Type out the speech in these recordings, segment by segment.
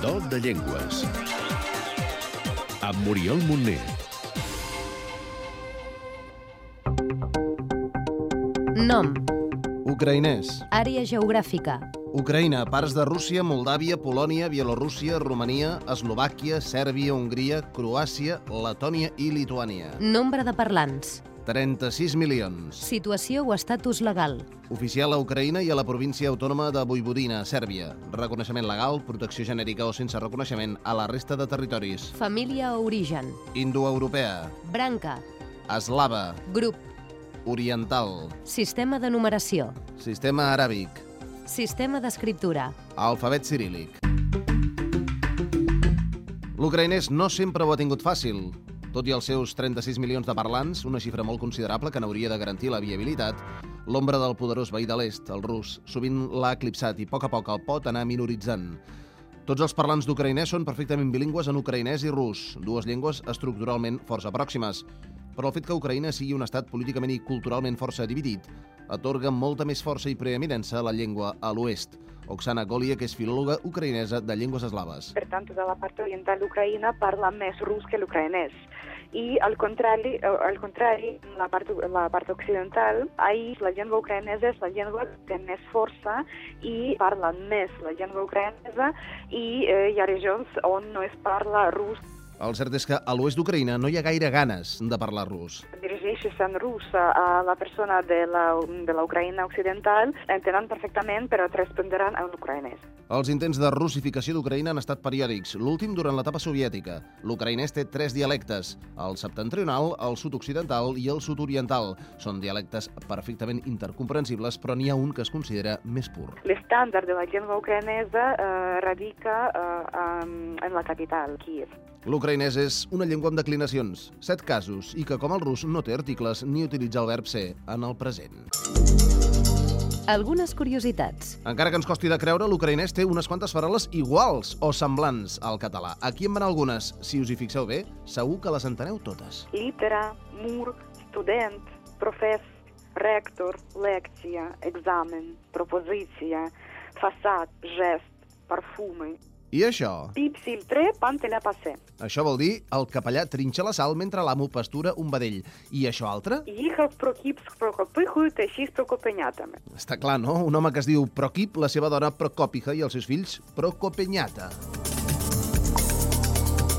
Do de Llengües. Amb Oriol Montner. Nom, Ucraïnès. àrea geogràfica, Ucraïna, parts de Rússia, Moldàvia, Polònia, Bielorússia, Romania, Eslovàquia, Sèrbia, Hongria, Croàcia, Letònia i Lituània. nombre de parlants, 36 milions. situació o estatus legal, Oficial a Ucraïna i a la província autònoma de Vojvodina, Sèrbia. Reconeixement legal, protecció genèrica o sense reconeixement a la resta de territoris. família o origen, Indoeuropea, branca, eslava, grup, oriental, sistema de numeració, sistema aràbic, sistema d'escriptura, Alfabet cirílic. L'ucraïnès no sempre ho ha tingut fàcil. Tot i els seus 36 milions de parlants, una xifra molt considerable que n'hauria de garantir la viabilitat, l'ombra del poderós veí de l'est, el rus, sovint l'ha eclipsat i a poc a poc el pot anar minoritzant. Tots els parlants d'ucraïnès són perfectament bilingües en ucraïnès i rus, dues llengües estructuralment força pròximes. Però el fet que Ucraïna sigui un estat políticament i culturalment força dividit atorga molta més força i preeminença a la llengua a l'oest. Oksana Golia, que és filòloga ucraïnesa de llengües eslaves. per tant, tota la part oriental d'Ucraïna parla més rus que l'ucraïnès. I al contrari, eh, al contrari en la, part, en la part occidental, ahí la llengua ucraïnesa és la llengua que té més força i parla més la llengua ucraïnesa i eh, hi ha regions on no es parla rus, El cert és que a l'oest d'Ucraïna no hi ha gaire ganes de parlar rus. dirigeixes en rus a la persona de la, de la Ucraïna occidental, entenen perfectament però et respondran en ucraïnès. Els intents de russificació d'Ucraïna han estat periòdics, l'últim durant l'etapa soviètica. L'ucraïnès té tres dialectes, el septentrional, el sud-occidental i el sud-oriental. Són dialectes perfectament intercomprensibles, però n'hi ha un que es considera més pur. L'estàndard de la llengua ucraïnesa eh, radica eh, en, en la capital, Kiev. L'ucraïnès és una llengua amb declinacions, set casos, i que, com el rus, no té articles ni utilitza el verb ser en el present. algunes curiositats. Encara que ens costi de creure, l'ucraïnès té unes quantes paraules iguals o semblants al català. Aquí en van algunes. Si us hi fixeu bé, segur que les enteneu totes. Літера, мур, студент, профес, ректор, лекція, екзамен, пропозиція, фасад, жест, парфуми. I això? Піпсіль три, пантеля пасе. Això vol dir el capellà trinxa la sal mentre l'amo pastura un vedell. I això altre? Їхав Прокіп з Прокопихою та шість прокопенятами. Està clar, no? Un home que es diu Prokip, la seva dona Procòpica i els seus fills Procopenyata.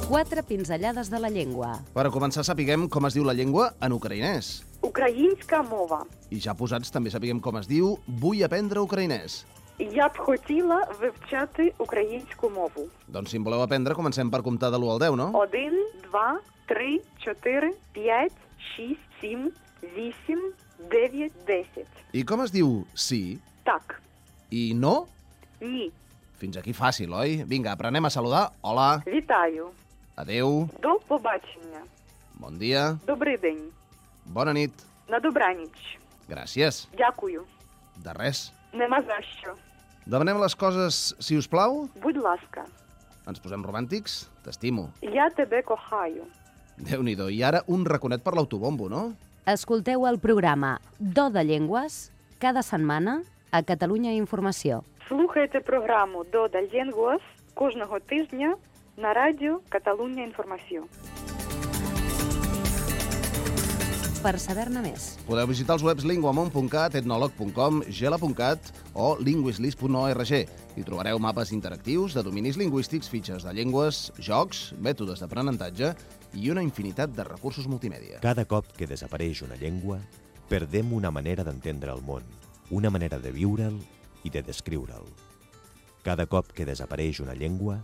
Quatre pinzellades de la llengua. Per començar, sapiguem com es diu la llengua en ucraïnès. Українська мова. I ja posats, també sapiguem com es diu Vull aprendre ucraïnès. Я б хотіла вивчати українську мову. Doncs si en voleu aprendre, comencem per comptar de l'1 al 10, no? Один, два, три, чотири, п'ять, шість, сім, вісім, дев'ять, десять. I com es diu sí Так, i no? ні. Fins aquí fàcil, oi? Vinga, aprenem a saludar. Hola, Вітаю. adeu, До побачення. bon dia, Добрий день. bona nit. На добраніч. Gràcies. Дякую. De res. Нема за що. Demanem les coses, si us plau. Будь ласка, Ens posem romàntics. T'estimo. я тебе кохаю. Déu-n'hi-do. I ara un raconet per l'autobombo, no? Escolteu el programa Do de Llengües cada setmana a Catalunya Informació. Слухайте програму Дода Єнгуас кожного тижня на радіо Каталунія Інформацію. Per saber-ne més, Podeu visitar els webs linguamont.cat, etnolog.com, gela.cat o linguislis.org. Hi trobareu mapes interactius de dominis lingüístics, fitxes de llengües, jocs, mètodes d'aprenentatge i una infinitat de recursos multimèdia. Cada cop que desapareix una llengua, perdem una manera d'entendre el món, una manera de viure'l i de descriure'l. Cada cop que desapareix una llengua,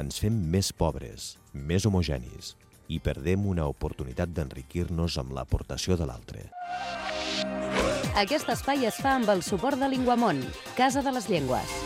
ens fem més pobres, més homogenis i perdem una oportunitat d'enriquir-nos amb l'aportació de l'altre. aquest espai es fa amb el suport de Linguamont, Casa de les Llengües.